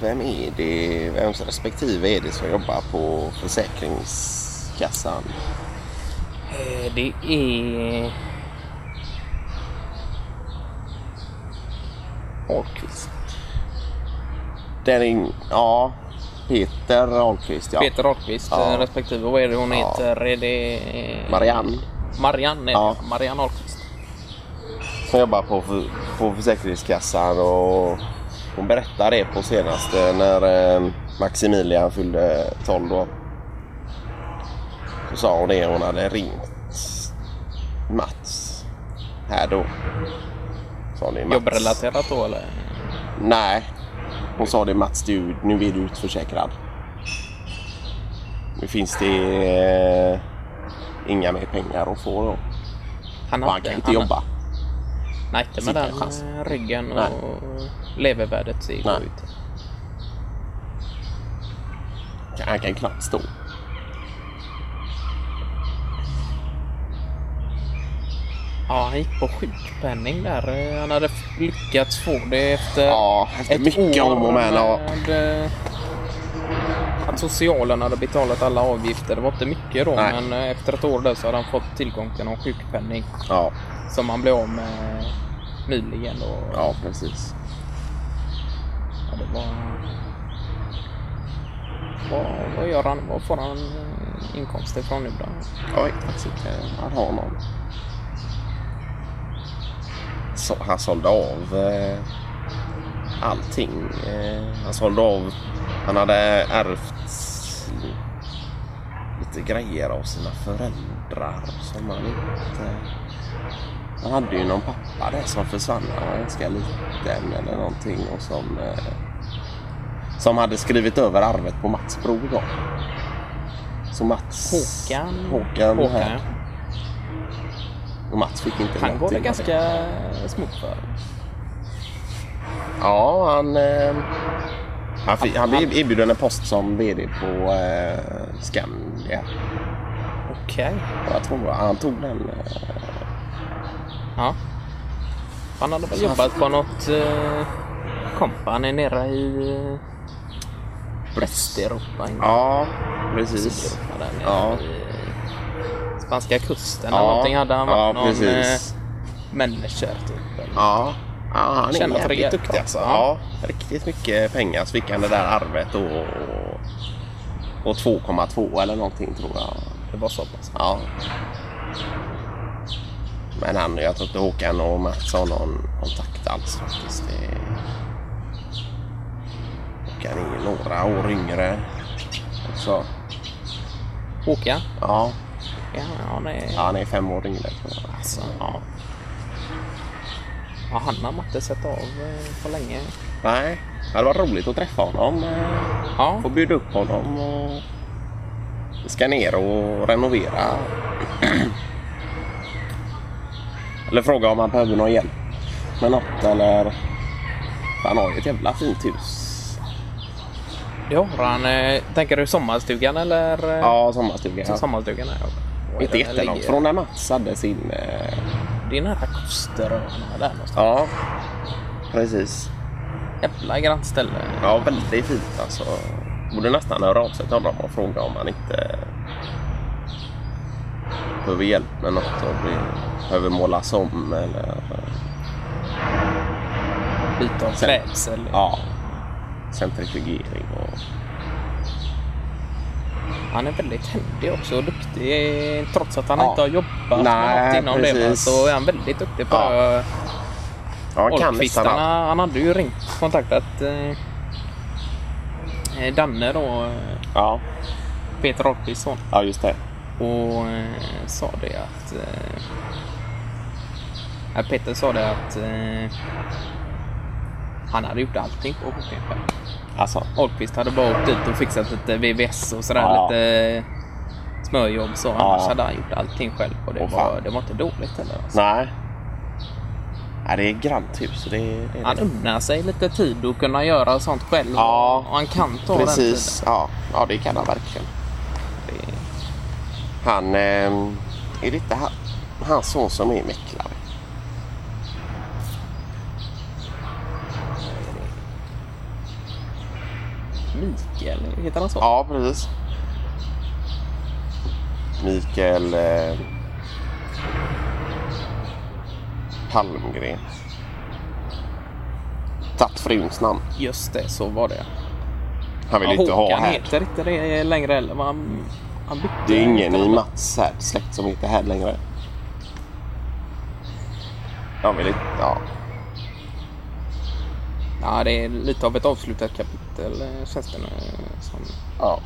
vem är det, vems respektive är det som jobbar på Försäkringskassan? Eh, Det är... Ahlqvist. Den är, ja, Peter Ahlqvist ja. Peter Ahlqvist Ja. eh, respektive. Vad är det hon Ja. heter? Är det... eh, Marianne Marianne är Ja. det. Marianne Ahlqvist. som jobbar på, för- på Försäkringskassan och hon berättade det på senaste när eh, Maximilian fyllde 12 då. Så sa hon det, hon hade ringt Mats här då. Sa det, Mats. Jobbrelaterat då eller? Nej. Hon sa det Mats, du, nu är du utförsäkrad. Nu finns det eh, inga mer pengar att få då. Han Man hade- kan inte han- jobba. Nej, inte med Sitta den en chans. eh, ryggen Nej. och levervärdet ser Nej. ju ut. Han kan knappt stå. Ja, han gick på sjukpenning där. Eh, Han hade f- lyckats få det efter Ja, efter mycket om och men. Ja. med, eh, Att socialen hade betalat alla avgifter. Det var inte mycket då, Nej. men eh, efter ett år där så hade han fått tillgång till någon sjukpenning Ja, som han blev av med nyligen. Då. ja precis. Ja, det var... Vad, vad gör han? Vad får han eh, inkomster från nu då? Oj, taxichauffören, han har någon. Så, han sålde av eh, allting. Eh, han sålde av... Han hade ärvt lite grejer av sina föräldrar som han inte... Han hade ju någon pappa där som försvann när han var ganska liten eller någonting och som... Eh, som hade skrivit över arvet på Mats bror då. Så Mats... Håkan? Håkan, Håkan, här. ja. Och Mats fick inte Han går det någonting av det. ganska smått för. Ja, han... Eh, han, fick, han blev erbjuden en post som VD på eh, Skandia. Okej. Och Jag tror han tog den. Eh, Ja. Han hade väl jobbat på något eh, company nere i eh, Västeuropa. inte ja, precis. Sydeuropa, där nere Ja. i Spanska kusten eller Ja, någonting hade han varit ja, någon precis. eh, manager typ. eller- Ja. ja, han är Tjänar jävligt rejält duktig bra. alltså. Ja. Ja. riktigt mycket pengar så fick han det där arvet och, och 2,2 eller någonting tror jag. Det var så pass. Ja. Men han, jag tror inte Håkan och Mats har någon kontakt alls faktiskt. Det... Håkan är ju några år yngre också. Håkan? Ja, Ja, han är... ja, han är fem år yngre tror jag. Alltså, ja. Ja, han har man inte sett av eh, på länge. Nej, det hade varit roligt att träffa honom. eh, Ja, Få bjuda upp honom och... Vi ska ner och renovera. eller fråga om han behöver någon hjälp med något eller... Han har ju ett jävla fint hus. det har han. Eh, tänker du sommarstugan eller? eh, Ja, sommarstuga. Så sommarstugan är jag. Vad är Inte det jättelångt ligger? från när Mats hade sin... Eh... Det är nära Kosteröarna där någonstans. Ja, precis. Jävla grannställe. Ja, väldigt fint alltså. Borde nästan höra av sig till honom och fråga om han inte behöver hjälp med något och bli- behöver målas om eller... Byta av Sen- klädsel. Ja, centrifugering och... Han är väldigt händig också och duktig. Trots att han Ja. inte har jobbat Nej, med något inom det va, precis. så är han väldigt duktig på Ja. ja. Ja, han kan nästan allt. Ahlqvistarna. Han hade ju ringt kontaktat eh, eh, Danne då, eh, Ja, Peter Ahlqvists son. ja, just det. och eh, sa det att... Eh, ja, Peter sa det att eh, han hade gjort allting på Håkan själv. Alltså, Ahlqvist hade bara åkt ut och fixat lite VVS och sådär. Ja. Lite smörjobb så. Ja. Annars hade han gjort allting själv och det, Åh, var, fan. det var inte dåligt heller. Alltså. nej. Nej, det är grant hus. Det är, det är Han det. unnar sig lite tid att kunna göra sånt själv. Ja. Och han kan ta Precis. Ja. ja, det kan han verkligen. den tiden. Det- Han... ehm, är det inte han, hans son som är mäklare? Mikael, heter han så? Ja, precis. Mikael eh, Palmgren. Tatt fruns namn. Just det, så var det. Han vill Ja, inte ha Håkan här. heter inte det längre heller. men Han, han bytte Det är ingen i efternamn. Mats här släkt som heter här längre. Han vill inte... Ja. Ja, det är lite av ett avslutat kapitel eh, känns det eh, som. ja.